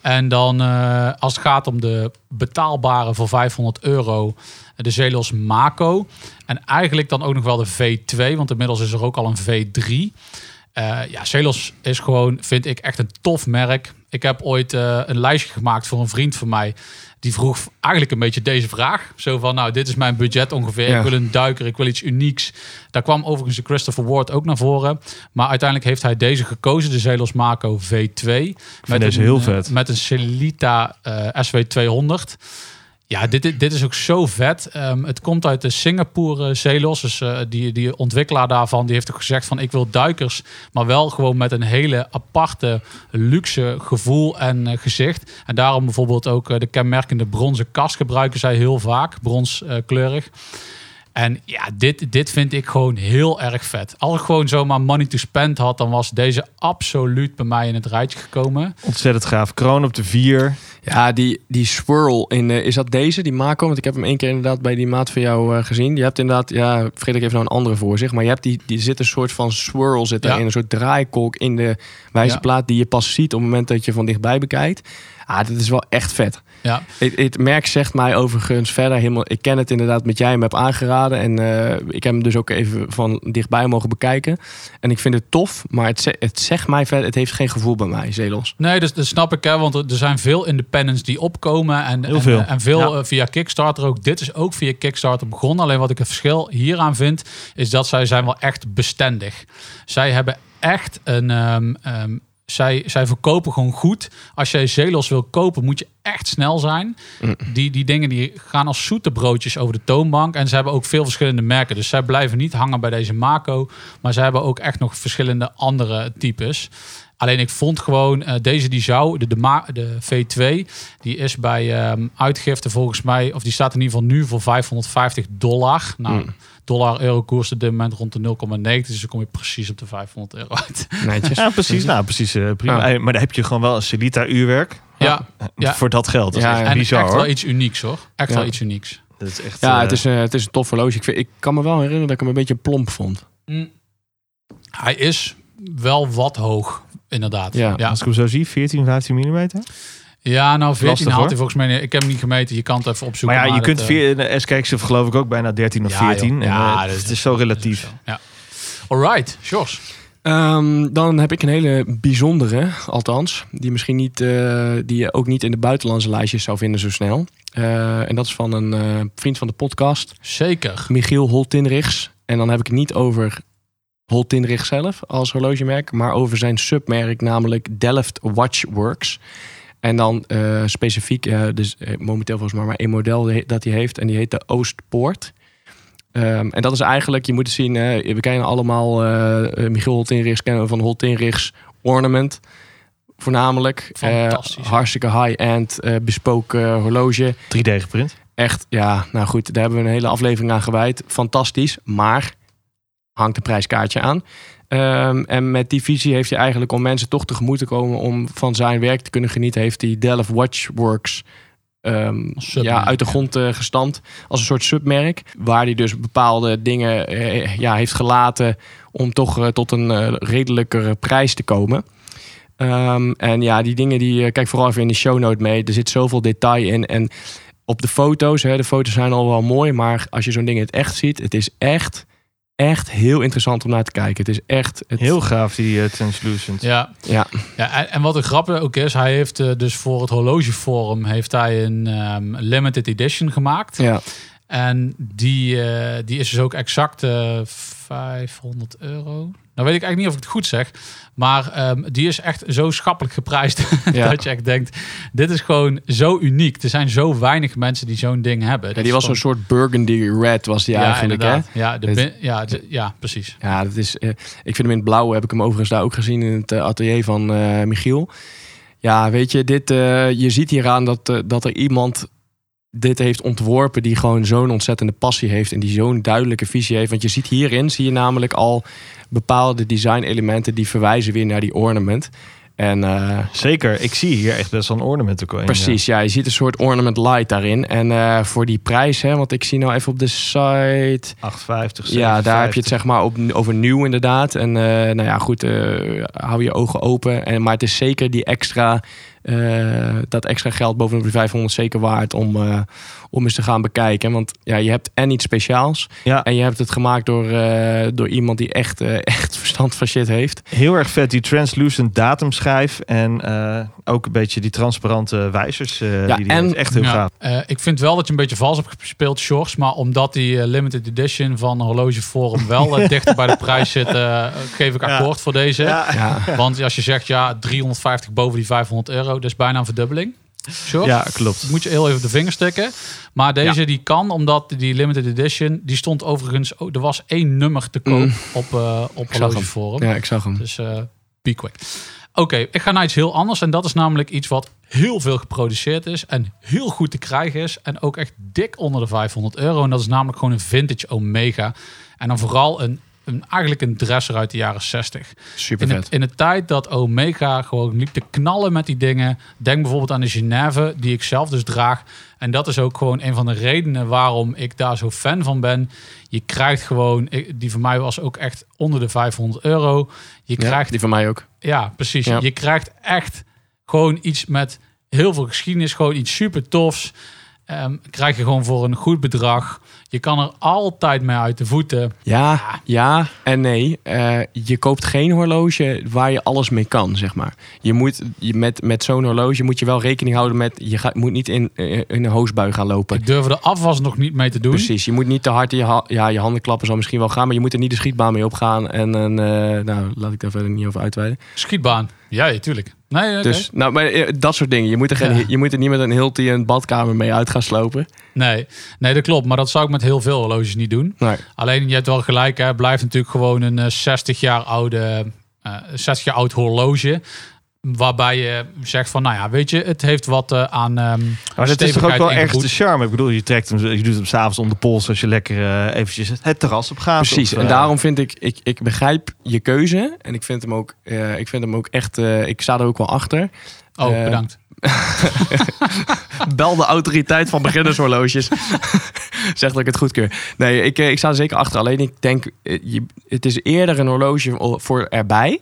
En dan eh, als het gaat om de betaalbare voor 500 euro, eh, de Zelos Mako. En eigenlijk dan ook nog wel de V2, want inmiddels is er ook al een V3. Eh, ja, Celos is gewoon, vind ik, echt een tof merk. Ik heb ooit eh, een lijstje gemaakt voor een vriend van mij. Die vroeg eigenlijk een beetje deze vraag. Zo van, nou, dit is mijn budget ongeveer. Ja. Ik wil een duiker, ik wil iets unieks. Daar kwam overigens de Christopher Ward ook naar voren. Maar uiteindelijk heeft hij deze gekozen, de Zelos Mako V2. met deze een, heel eh, vet. Met een Celita eh, SW200. Ja, dit, dit, dit is ook zo vet. Ehm, het komt uit de Singapore eh, Zelos. Dus eh, die, die ontwikkelaar daarvan, die heeft ook gezegd van ik wil duikers, maar wel gewoon met een hele aparte luxe gevoel en eh, gezicht. En daarom bijvoorbeeld ook eh, de kenmerkende bronzen kast gebruiken zij heel vaak, bronskleurig. en ja, dit, dit vind ik gewoon heel erg vet. Als ik gewoon zomaar money to spend had, dan was deze absoluut bij mij in het rijtje gekomen. Ontzettend gaaf. Kroon op de vier. Ja, die, die swirl in. eh, is dat deze, die Mako? Want ik heb hem één keer inderdaad bij die maat van jou eh, gezien. Je hebt inderdaad, ja, Frederik heeft nou een andere voor zich. Maar je hebt die, die zit een soort van swirl zit Ja. daarin. Een soort draaikolk in de wijzerplaat die je pas ziet op het moment dat je van dichtbij bekijkt. Ah, dat is wel echt vet. Ja, Het, het merk zegt mij overigens verder helemaal... Ik ken het inderdaad met jij hem hebt aangeraden. En eh, ik heb hem dus ook even van dichtbij mogen bekijken. En ik vind het tof, maar het, ze- het zegt mij verder... Het heeft geen gevoel bij mij, Zelos. Nee, dat, dat snap ik, hè, want er er zijn veel independents die opkomen. En Heel en, veel. eh, En, veel Ja. eh, via Kickstarter ook. Dit is ook via Kickstarter begonnen. Alleen wat ik het verschil hieraan vind, is dat zij zijn wel echt bestendig. Zij hebben echt een... ehm, ehm, zij, zij verkopen gewoon goed. Als jij Zelos wil kopen, moet je echt snel zijn. Die, die dingen die gaan als zoete broodjes over de toonbank. En ze hebben ook veel verschillende merken. Dus zij blijven niet hangen bij deze Mako. Maar ze hebben ook echt nog verschillende andere types. Alleen ik vond gewoon eh, deze die zou, de, de, Ma- de V2, die is bij ehm, uitgifte volgens mij, of die staat in ieder geval nu voor 550 dollar. Nou, Hmm. dollar-euro koers op dit moment rond de 0,9. Dus dan kom je precies op de 500 euro uit. Mm, Netjes. Ja, precies. Nou, precies. eh, prima. Ja. Hey, Maar daar heb je gewoon wel een Celita uurwerk. Ja, Ja. Voor dat geld. Dat is Ja, echt ja. en bizar echt hoor. wel iets unieks hoor. Echt Ja. wel iets unieks. Dat is echt, Ja, eh, het is, eh, het is een tof horloge. Ik, vind, ik kan me wel herinneren dat ik hem een beetje plomp vond. Hij is wel wat hoog, inderdaad. Ja. ja. Als ik hem zo zie, 14, 15 millimeter. Ja, nou 14 Lastig, haalt hoor. hij volgens mij. niet. Ik heb hem niet gemeten. Je kan het even opzoeken. Maar ja, je dat, kunt eh, via de S-kijkers geloof ik ook bijna 13 of Ja, 14. joh. En, Ja, eh, dat is- het is zo relatief. Ja. Alright, Sjors. Ehm, dan heb ik een hele bijzondere, althans. Die misschien niet, eh, die je ook niet in de buitenlandse lijstjes zou vinden zo snel. Eh, en dat is van een eh, vriend van de podcast, Zeker. Michiel Holtinrichs. En dan heb ik het niet over Holtinrich zelf als horlogemerk, maar over zijn submerk, namelijk Delft Watchworks. En dan eh, specifiek, eh, dus eh, momenteel volgens mij maar één model die- dat hij heeft. En die heet de Oostpoort. Ehm, en dat is eigenlijk, je moet het zien, eh, we kennen allemaal eh Michiel Holtinrichs, kennen we van Holtinrichs Ornament. Voornamelijk. Eh, Fantastisch. hartstikke high-end, eh bespoken eh, horloge. 3D geprint. Echt, ja, nou goed, daar hebben we een hele aflevering aan gewijd. Fantastisch, maar hangt een prijskaartje aan. Ehm, en met die visie heeft hij eigenlijk om mensen toch tegemoet te komen om van zijn werk te kunnen genieten, heeft hij Delft Watchworks ehm, Als submerk, ja, uit de grond eh, gestampt als een soort submerk. Waar hij dus bepaalde dingen eh, ja, heeft gelaten om toch eh, tot een eh, redelijkere prijs te komen. Ehm, en ja, die dingen die. eh, kijk vooral even in de show note mee. Er zit zoveel detail in. En op de foto's, hè, de foto's zijn al wel mooi. Maar als je zo'n ding in het echt ziet, het is echt, echt heel interessant om naar te kijken. Het is echt. Het, Heel gaaf die eh, translucent. Ja. Ja. ja en, en wat een grap ook is, hij heeft eh, dus voor het horlogeforum heeft hij een ehm, limited edition gemaakt. Ja, En die, eh, die is dus ook exact eh, 500 euro. Nou weet ik eigenlijk niet of ik het goed zeg. Maar ehm, die is echt zo schappelijk geprijsd. Ja. dat je echt denkt, dit is gewoon zo uniek. Er zijn zo weinig mensen die zo'n ding hebben. Ja, die was zo'n soort burgundy red was die eigenlijk, hè? inderdaad. Ja, de Het- bin- ja, de- ja, precies. Ja, dat is, eh, ik vind hem in het blauw, heb ik hem overigens daar ook gezien in het eh, atelier van eh, Michiel. Ja, weet je, dit, eh, je ziet hieraan dat, eh, dat er iemand dit heeft ontworpen die gewoon zo'n ontzettende passie heeft en die zo'n duidelijke visie heeft. Want je ziet hierin, zie je namelijk al bepaalde design elementen die verwijzen weer naar die ornament. En eh, Zeker, ik zie hier echt best wel een ornament ook wel in, ja. Precies, ja. Je ziet een soort ornament light daarin. En eh, voor die prijs, hè, want ik zie nou even op de site... eh, 850, Ja, daar heb je 57. het zeg maar op, over nieuw inderdaad. En eh, nou ja, goed, eh, hou je ogen open. En, maar het is zeker die extra, eh, dat extra geld bovenop de 500 zeker waard om, eh, om eens te gaan bekijken. Want ja, je hebt en iets speciaals. Ja. En je hebt het gemaakt door, eh, door iemand die echt, eh, echt verstand van shit heeft. Heel erg vet, die translucent datumschijf en eh, ook een beetje die transparante wijzers. eh, Ja, die die en- heeft. Echt heel Ja. gaaf. Eh, ik vind wel dat je een beetje vals hebt gespeeld, Sjors. Maar omdat die eh, limited edition van Horloge Forum wel eh, dichter bij de prijs zit, eh, geef ik Ja. akkoord voor deze. Ja, Want als je zegt, ja, 350 boven die 500 euro, dat is bijna een verdubbeling. Sjors, Ja, klopt. moet je heel even op de vinger stikken. Maar deze die kan, omdat die limited edition, die stond overigens, oh, er was één nummer te koop Mm. op, eh op zag Horloge hem. Forum. ja ik zag hem. Dus eh be quick. Oké, ik ga naar iets heel anders. En dat is namelijk iets wat heel veel geproduceerd is. En heel goed te krijgen is. En ook echt dik onder de 500 euro. En dat is namelijk gewoon een vintage Omega. En dan vooral een, een eigenlijk een dresser uit de jaren 60. Super In, vet. het, in de tijd dat Omega gewoon liep te knallen met die dingen. Denk bijvoorbeeld aan de Geneve, die ik zelf dus draag. En dat is ook gewoon een van de redenen waarom ik daar zo fan van ben. Je krijgt gewoon, ik- die voor mij was ook echt onder de 500 euro. Je Ja, krijgt, die van mij ook. ja, precies. Ja. Je krijgt echt gewoon iets met heel veel geschiedenis, gewoon iets super tofs. Ehm, krijg je gewoon voor een goed bedrag. Je kan er altijd mee uit de voeten. Ja, ja en nee. Eh, je koopt geen horloge waar je alles mee kan, zeg maar. Je moet je, met, met zo'n horloge moet je wel rekening houden met... Je gaat, moet niet in, eh, in een hoosbui gaan lopen. Ik durf de afwas nog niet mee te doen. Precies, je moet niet te hard in je, ha- ja, je handen klappen zal misschien wel gaan... maar je moet er niet de schietbaan mee opgaan. En, en eh, nou, laat ik daar verder niet over uitweiden. Schietbaan. Ja, ja, tuurlijk. Nee, oké. Dus, nou, maar eh, dat soort dingen. Je moet er, geen, Ja. je moet er niet met een hilti en badkamer mee uit gaan slopen. nee. nee, dat klopt. Maar dat zou ik met heel veel horloges niet doen. Nee. Alleen, je hebt wel gelijk. Hè. Het blijft natuurlijk gewoon een eh, 60 jaar oude, eh 60 jaar oud horloge. Waarbij je zegt van, nou ja, weet je, het heeft wat eh, aan ehm Maar dat is toch ook stevigheid wel echt ingebouwd. de charme. Ik bedoel, je, trekt hem, je doet hem s'avonds om de pols als je lekker eh, eventjes het terras op gaat. Precies, Of, en eh, daarom vind ik, ik, ik begrijp je keuze. En ik vind hem ook, eh, ik vind hem ook echt, eh, ik sta er ook wel achter. Oh, Eh, bedankt. Bel de autoriteit van beginnershorloges. zeg dat ik het goedkeur. Nee, ik, eh, ik sta er zeker achter. Alleen ik denk, eh, je, het is eerder een horloge voor erbij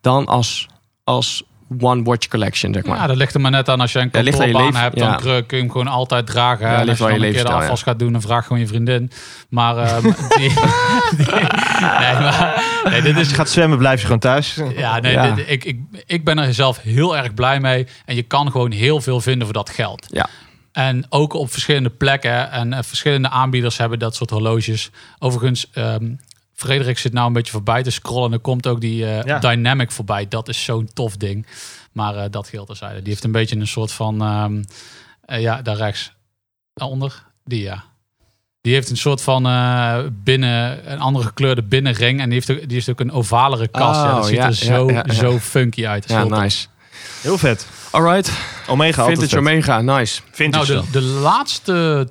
dan als, als One Watch Collection, zeg maar. Ja, dat ligt er maar net aan. Als je een Ja, ligt aan je kantoorbaan leven- hebt, dan ja. kun- kun je hem gewoon altijd dragen. Ja, hè. en als ligt je wel dan aan je een keer de levensstijl, afwas gaat doen, dan vraag gewoon je vriendin. Maar, ehm, die, die- nee, maar nee, dit Als is je gaat zwemmen, blijf je gewoon thuis. Ja, nee, Ja. dit- ik, ik, ik ben er zelf heel erg blij mee. En je kan gewoon heel veel vinden voor dat geld. Ja. En ook op verschillende plekken. En eh, verschillende aanbieders hebben dat soort horloges. Overigens, ehm, Frederik zit nou een beetje voorbij te scrollen. En er komt ook die eh, Ja. Dynamic voorbij. Dat is zo'n tof ding. Maar eh, dat geldt terzijde. Die heeft een beetje een soort van... ehm, eh, ja, daar rechts. Daaronder. Die ja. Die heeft een soort van eh, binnen, een andere gekleurde binnenring. En die heeft ook, die heeft ook een ovalere kast. ja, Oh, dat ziet ja, er zo, ja, ja, ja. zo funky uit. Dat is Ja, heel tof. nice. Heel vet. Alright, Omega altijd vintage vet. Omega, nice. Vintage nou, de, de laatste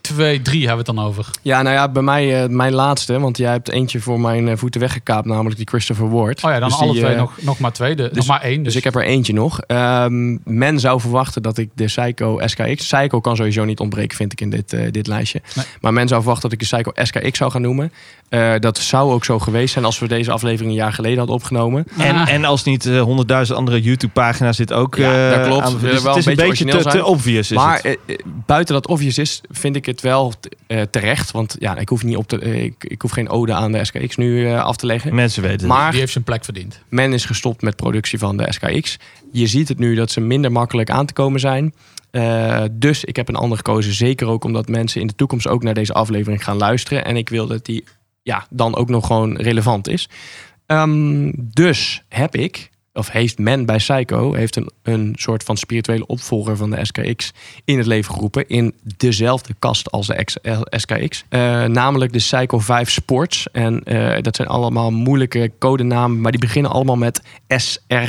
twee, drie hebben we het dan over. Oh Ja, nou ja, bij mij eh, mijn laatste, want jij hebt eentje voor mijn eh, voeten weggekaapt, namelijk die Christopher Ward. Oh ja, dan Dus die, alle twee eh, nog, nog maar twee. De, nog dus- maar één. Dus, Dus ik heb er eentje nog. Ehm, men zou verwachten dat ik de Psycho SKX... Psycho kan sowieso niet ontbreken, vind ik, in dit, eh, dit lijstje. Nee. Maar men zou verwachten dat ik de Psycho SKX zou gaan noemen. Eh, dat zou ook zo geweest zijn als we deze aflevering een jaar geleden hadden opgenomen. En, Ah. en als niet eh, honderdduizend andere YouTube-pagina's dit ook Ja, eh, dat klopt. aan- Wil dus wel het is een een beetje beetje te, origineel te zijn. obvious. Is maar het. eh, eh, buiten dat obvious is, vind ik het wel eh, terecht. Want ja, ik hoef, niet op te, eh, ik, ik hoef geen ode aan de SKX nu eh, af te leggen. Mensen weten het. Maar die heeft zijn plek verdiend. Men is gestopt met productie van de SKX. Je ziet het nu dat ze minder makkelijk aan te komen zijn. Eh, dus ik heb een ander gekozen. Zeker ook omdat mensen in de toekomst ook naar deze aflevering gaan luisteren. En ik wil dat die ja, dan ook nog gewoon relevant is. Eh, Ehm, dus heb ik, of heeft men bij Psycho, heeft een, een soort van spirituele opvolger van de SKX in het leven geroepen. In dezelfde kast als de X- eh, SKX. Eh, namelijk de Psycho 5 Sports. En eh, dat zijn allemaal moeilijke codenamen, maar die beginnen allemaal met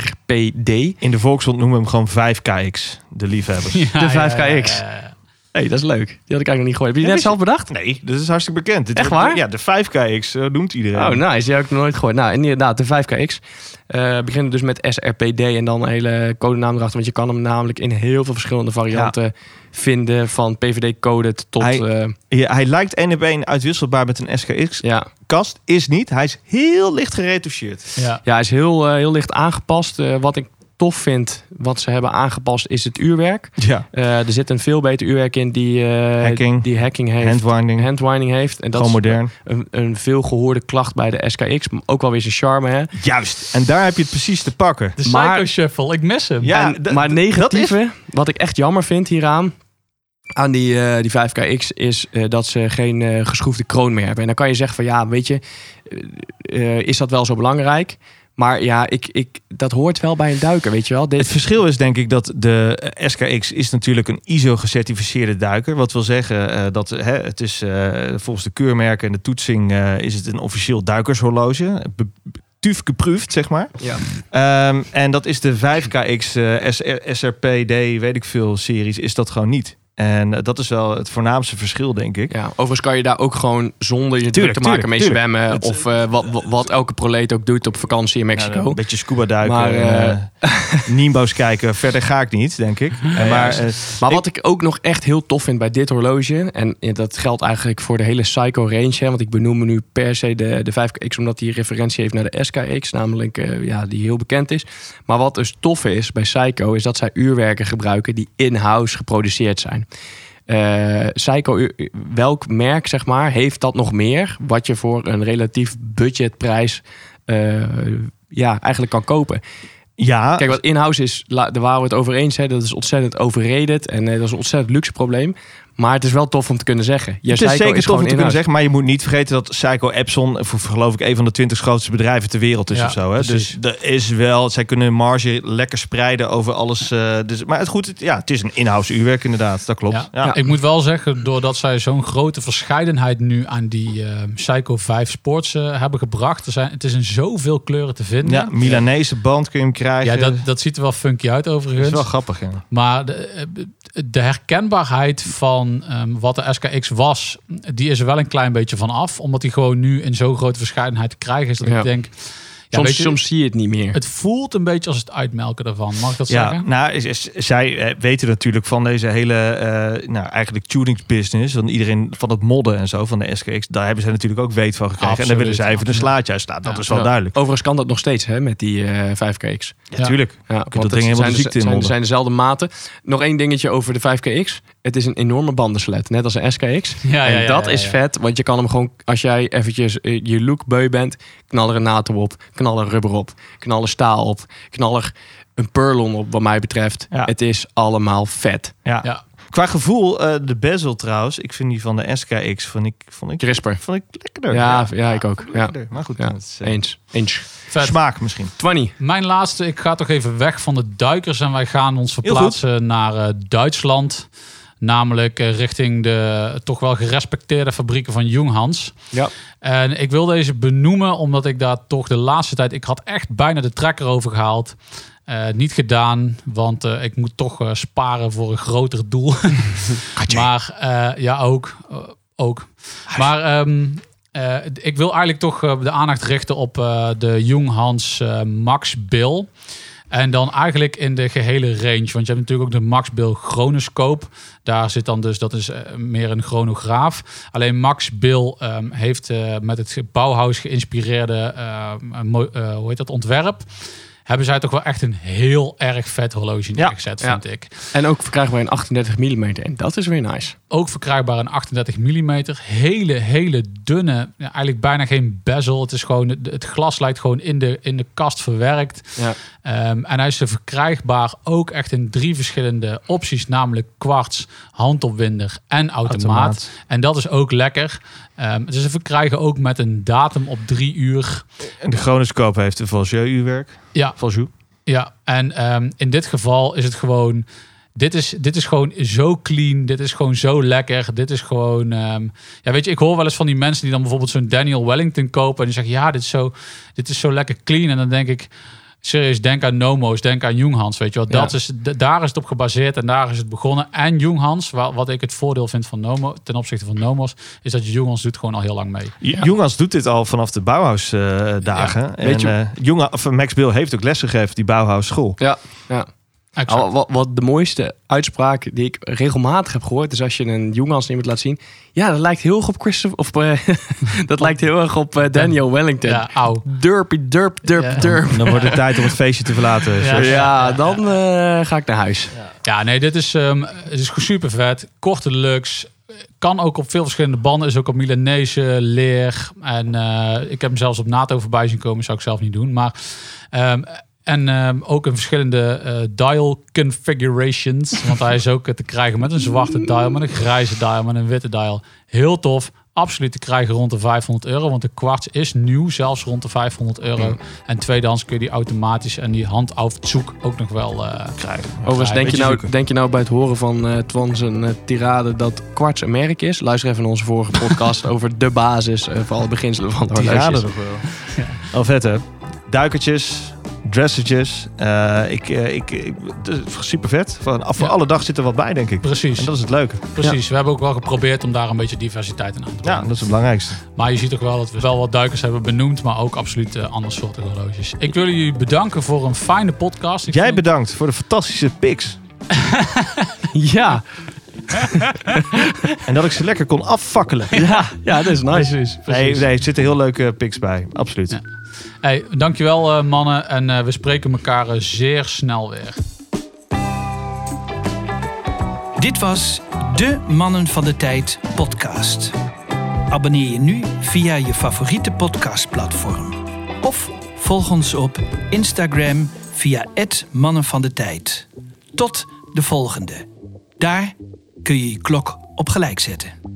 SRPD. In de volksmond noemen we hem gewoon 5KX, de liefhebbers. Ja, de ja, 5KX. ja, ja. Hé, hey, dat is leuk. Die had ik eigenlijk nog niet gehoord. Heb je die Ja, net weet zelf bedacht? Nee, dit is hartstikke bekend. Dit Echt wordt- waar? Ja, de 5KX eh, noemt iedereen. Oh, nice. Die heb ik nog nooit gehoord. Nou, inderdaad, de 5KX. Eh beginnen dus met SRPD en dan een hele codenaam erachter. Want je kan hem namelijk in heel veel verschillende varianten vinden. Van PVD-code tot... Hij- eh, Ja, hij lijkt één op één uitwisselbaar met een SKX-kast. ja. Is niet. Hij is heel licht geretoucheerd. Ja. ja, hij is heel, eh, heel licht aangepast. Eh, wat ik tof vind, wat ze hebben aangepast, is het uurwerk. Ja. Eh, er zit een veel beter uurwerk in die, eh, Hacking. die hacking heeft. Handwinding. handwinding heeft. En dat gewoon is modern. een, een veel gehoorde klacht bij de SKX. maar Ook wel weer zijn charme, hè? Juist. En daar heb je het precies te pakken. De Maar- Psycho Shuffle, ik mis hem. Ja, En- d- maar d- negatieve, wat ik echt jammer vind hieraan, aan die, eh, die 5KX, is eh, dat ze geen eh, geschroefde kroon meer hebben. En dan kan je zeggen van ja, weet je, eh, eh, is dat wel zo belangrijk? Maar ja, ik, ik, dat hoort wel bij een duiker, weet je wel. Dit, Het verschil is denk ik dat de eh, SKX is natuurlijk een ISO-gecertificeerde duiker. Wat wil zeggen eh, dat eh, hè, het is eh, volgens de keurmerken en de toetsing eh, is het een officieel duikershorloge. Be- be- TÜV geproefd, zeg maar. ja. Ehm, en dat is de 5KX eh, SR, SRPD, weet ik veel, series, is dat gewoon niet. En eh, dat is wel het voornaamste verschil, denk ik. Ja, overigens kan je daar ook gewoon zonder je druk Tuurlijk, te maken tuurlijk, mee tuurlijk. zwemmen. Het- of eh, wat, wat, wat elke proleet ook doet op vakantie in Mexico. een beetje scuba duiken, Maar, maar, eh, Nimbo's kijken. Verder ga ik niet, denk ik. maar eh, Maar wat ik ook nog echt heel tof vind bij dit horloge, en ja, dat geldt eigenlijk voor de hele Psycho range, hè, want ik benoem nu per se de, de 5KX omdat die referentie heeft naar de SKX, namelijk eh, ja, die heel bekend is. Maar wat dus tof is bij Psycho, is dat zij uurwerken gebruiken die in-house geproduceerd zijn. Eh, Psycho, u- welk merk zeg maar, heeft dat nog meer, wat je voor een relatief budgetprijs eh, ja, eigenlijk kan kopen? ja, Kijk, wat in-house is, la- daar waren we het over eens. Hè, dat is ontzettend overrated en eh, dat is een ontzettend luxe probleem. Maar het is wel tof om te kunnen zeggen. Je het is zeker tof om te kunnen in-house. zeggen. Maar je moet niet vergeten dat Psycho Epson... voor geloof ik een van de twintig grootste bedrijven ter wereld is Ja, of zo. Hè? Dus precies. er is wel... Zij kunnen hun marge lekker spreiden over alles. eh, dus, maar het, goed, het, ja, het is een in-house uurwerk inderdaad. Dat klopt. Ja. Ja. Ik moet wel zeggen, doordat zij zo'n grote verscheidenheid nu aan die eh, Psycho 5 Sports eh, hebben gebracht. Er zijn, het is in zoveel kleuren te vinden. Ja, Milanese band kun je hem krijgen. Ja, dat, dat ziet er wel funky uit dat overigens. is wel grappig. hè. Maar de, eh, de herkenbaarheid van ehm, wat de SKX was, die is er wel een klein beetje van af. Omdat die gewoon nu in zo'n grote verscheidenheid te krijgen is dat Ja. ik denk... Ja, soms, weet je, soms zie je het niet meer. Het voelt een beetje als het uitmelken daarvan. Mag ik dat Ja, zeggen? nou, is, is- zij eh, weten natuurlijk van deze hele, eh, nou eigenlijk tuningsbusiness, van iedereen van het modden en zo van de SKX, daar hebben zij natuurlijk ook weet van gekregen. en Absoluut, dan willen zij even een absoluut. slaatje uit. Nou, dat Ja, is wel Ja. duidelijk. Overigens kan dat nog steeds hè, met die eh 5KX. Ja. Natuurlijk. Ja, dat ding helemaal zijn, de dus- ziekte in zijn, modden. zijn dezelfde maten. Nog één dingetje over de 5KX. Het is een enorme bandenslet, net als een SKX. Ja, Ah, ja, en ja, dat ja, is ja. vet, want je kan hem gewoon... Als jij eventjes eh, je look beu bent, knal er een NATO op. Knal er rubber op. Knal er staal op. Knal er een purlon op, wat mij betreft. Ja. Het is allemaal vet. Ja. Ja. Qua gevoel, eh, de bezel trouwens, ik vind die van de SKX, vond ik, vond ik, Crisper. vond ik lekkerder. Ja, ja, ik ook. Ja. lekkerder. Maar goed, Ja. dat is, eh, Eens. Eens. Vet. smaak misschien. 20. Mijn laatste, ik ga toch even weg van de duikers en wij gaan ons verplaatsen naar eh, Duitsland. Namelijk eh, richting de toch wel gerespecteerde fabrieken van Junghans. Ja. En ik wil deze benoemen omdat ik daar toch de laatste tijd... Ik had echt bijna de trekker over gehaald. Eh, niet gedaan, want eh, ik moet toch eh, sparen voor een groter doel. maar eh, ja, ook. eh, ook. Maar ehm, eh, ik wil eigenlijk toch eh, de aandacht richten op eh, de Junghans eh, Max Bill. En dan eigenlijk in de gehele range. Want je hebt natuurlijk ook de Max Bill chronoscoop. Daar zit dan dus, dat is eh, meer een chronograaf. Alleen Max Bill ehm, heeft eh, met het Bauhaus geïnspireerde ehm, een mo- eh, hoe heet dat, ontwerp. hebben zij toch wel echt een heel erg vet horloge neergezet, ja. vind ik. En ook verkrijgbaar in 38 mm. En dat is weer nice. Ook verkrijgbaar in 38 mm. Hele, hele dunne, ja, eigenlijk bijna geen bezel. Het, is gewoon, het- het glas lijkt gewoon in de, in de kast verwerkt. Ja. Ehm, en hij is er verkrijgbaar ook echt in drie verschillende opties, namelijk kwarts, handopwinder en automaat. Automaat. En dat is ook lekker. Ehm, dus ze verkrijgen ook met een datum op drie uur. En de chronoscoop heeft een Valjeau-uurwerk. Ja. Valjeau. Ja, en ehm, in dit geval is het gewoon. Dit is, dit is gewoon zo clean. Dit is gewoon zo lekker. Dit is gewoon. ehm, ja, weet je, ik hoor wel eens van die mensen die dan bijvoorbeeld zo'n Daniel Wellington kopen. En die zeggen: Ja, dit is zo, dit is zo lekker clean. En dan denk ik. Serieus, denk aan Nomo's, denk aan Junghans, weet je wel. Dat Ja. is, d- daar is het op gebaseerd en daar is het begonnen. En Junghans, wa- wat ik het voordeel vind van Nomo, ten opzichte van Nomo's, is dat Junghans doet gewoon al heel lang mee. Jongens doet dit al vanaf de Bauhaus-dagen. en weet je- eh, Jonga- of Max Bill heeft ook lessen gegeven, die Bauhaus-school. Ja, ja. Exact. Nou, wat, wat de mooiste uitspraak die ik regelmatig heb gehoord, is als je een jongans iemand laat zien. Ja, dat lijkt heel erg op Christopher. Of, eh, dat lijkt heel erg op eh, Daniel Wellington. ja, auw. Derpy, derp, derp, Ja. derp. En dan wordt het tijd om het feestje te verlaten. Ja. Ja, Sjors. dan eh, ga ik naar huis. Ja, nee, dit is, ehm het is super vet. Korte luxe. Kan ook op veel verschillende banden. Is ook op Milanese, leer. En eh, ik heb hem zelfs op NATO voorbij zien komen. Zou ik zelf niet doen. Maar, ehm, en ehm, ook in verschillende eh, dial configurations. Want hij is ook te krijgen met een zwarte dial, met een grijze dial, met een witte dial. Heel tof. Absoluut te krijgen rond de 500 euro. Want de kwarts is nieuw, zelfs rond de 500 euro. En tweedehands kun je die automatisch en die handaufzoek ook nog wel eh, krijgen. Overigens, denk je, beetje nou, zoeken. denk je nou bij het horen van eh Twan zijn eh, tirade dat kwarts een merk is? Luister even naar onze vorige podcast over de basis eh, van alle beginselen van de Die raden horloges. nog wel. Al vet, hè? Duikertjes, dressertjes. eh, ik, eh, ik, ik, super vet. Van, voor Ja. alle dag zit er wat bij, denk ik. Precies, En dat is het leuke. precies. We hebben ook wel geprobeerd om daar een beetje diversiteit in aan te Ja, brengen. dat is het belangrijkste. Maar je ziet toch wel dat we wel wat duikers hebben benoemd, maar ook absoluut eh andere soorten horloges. Ik wil jullie bedanken voor een fijne podcast. Ik Jij vond- bedankt voor de fantastische pics. Ja, En dat ik ze lekker kon afvakkelen. ja, ja, dat is nice. Nee, nee, er zitten heel leuke pics bij. Absoluut. Ja. Hey, dankjewel eh, mannen en eh, we spreken elkaar eh, zeer snel weer. Dit was de Mannen van de Tijd podcast. Abonneer je nu via je favoriete podcastplatform. Of volg ons op Instagram via het Mannen van de Tijd. Tot de volgende. Daar kun je je klok op gelijk zetten.